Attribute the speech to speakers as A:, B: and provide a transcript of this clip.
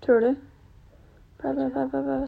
A: Tror du? Bla, bla, bla, bla, bla.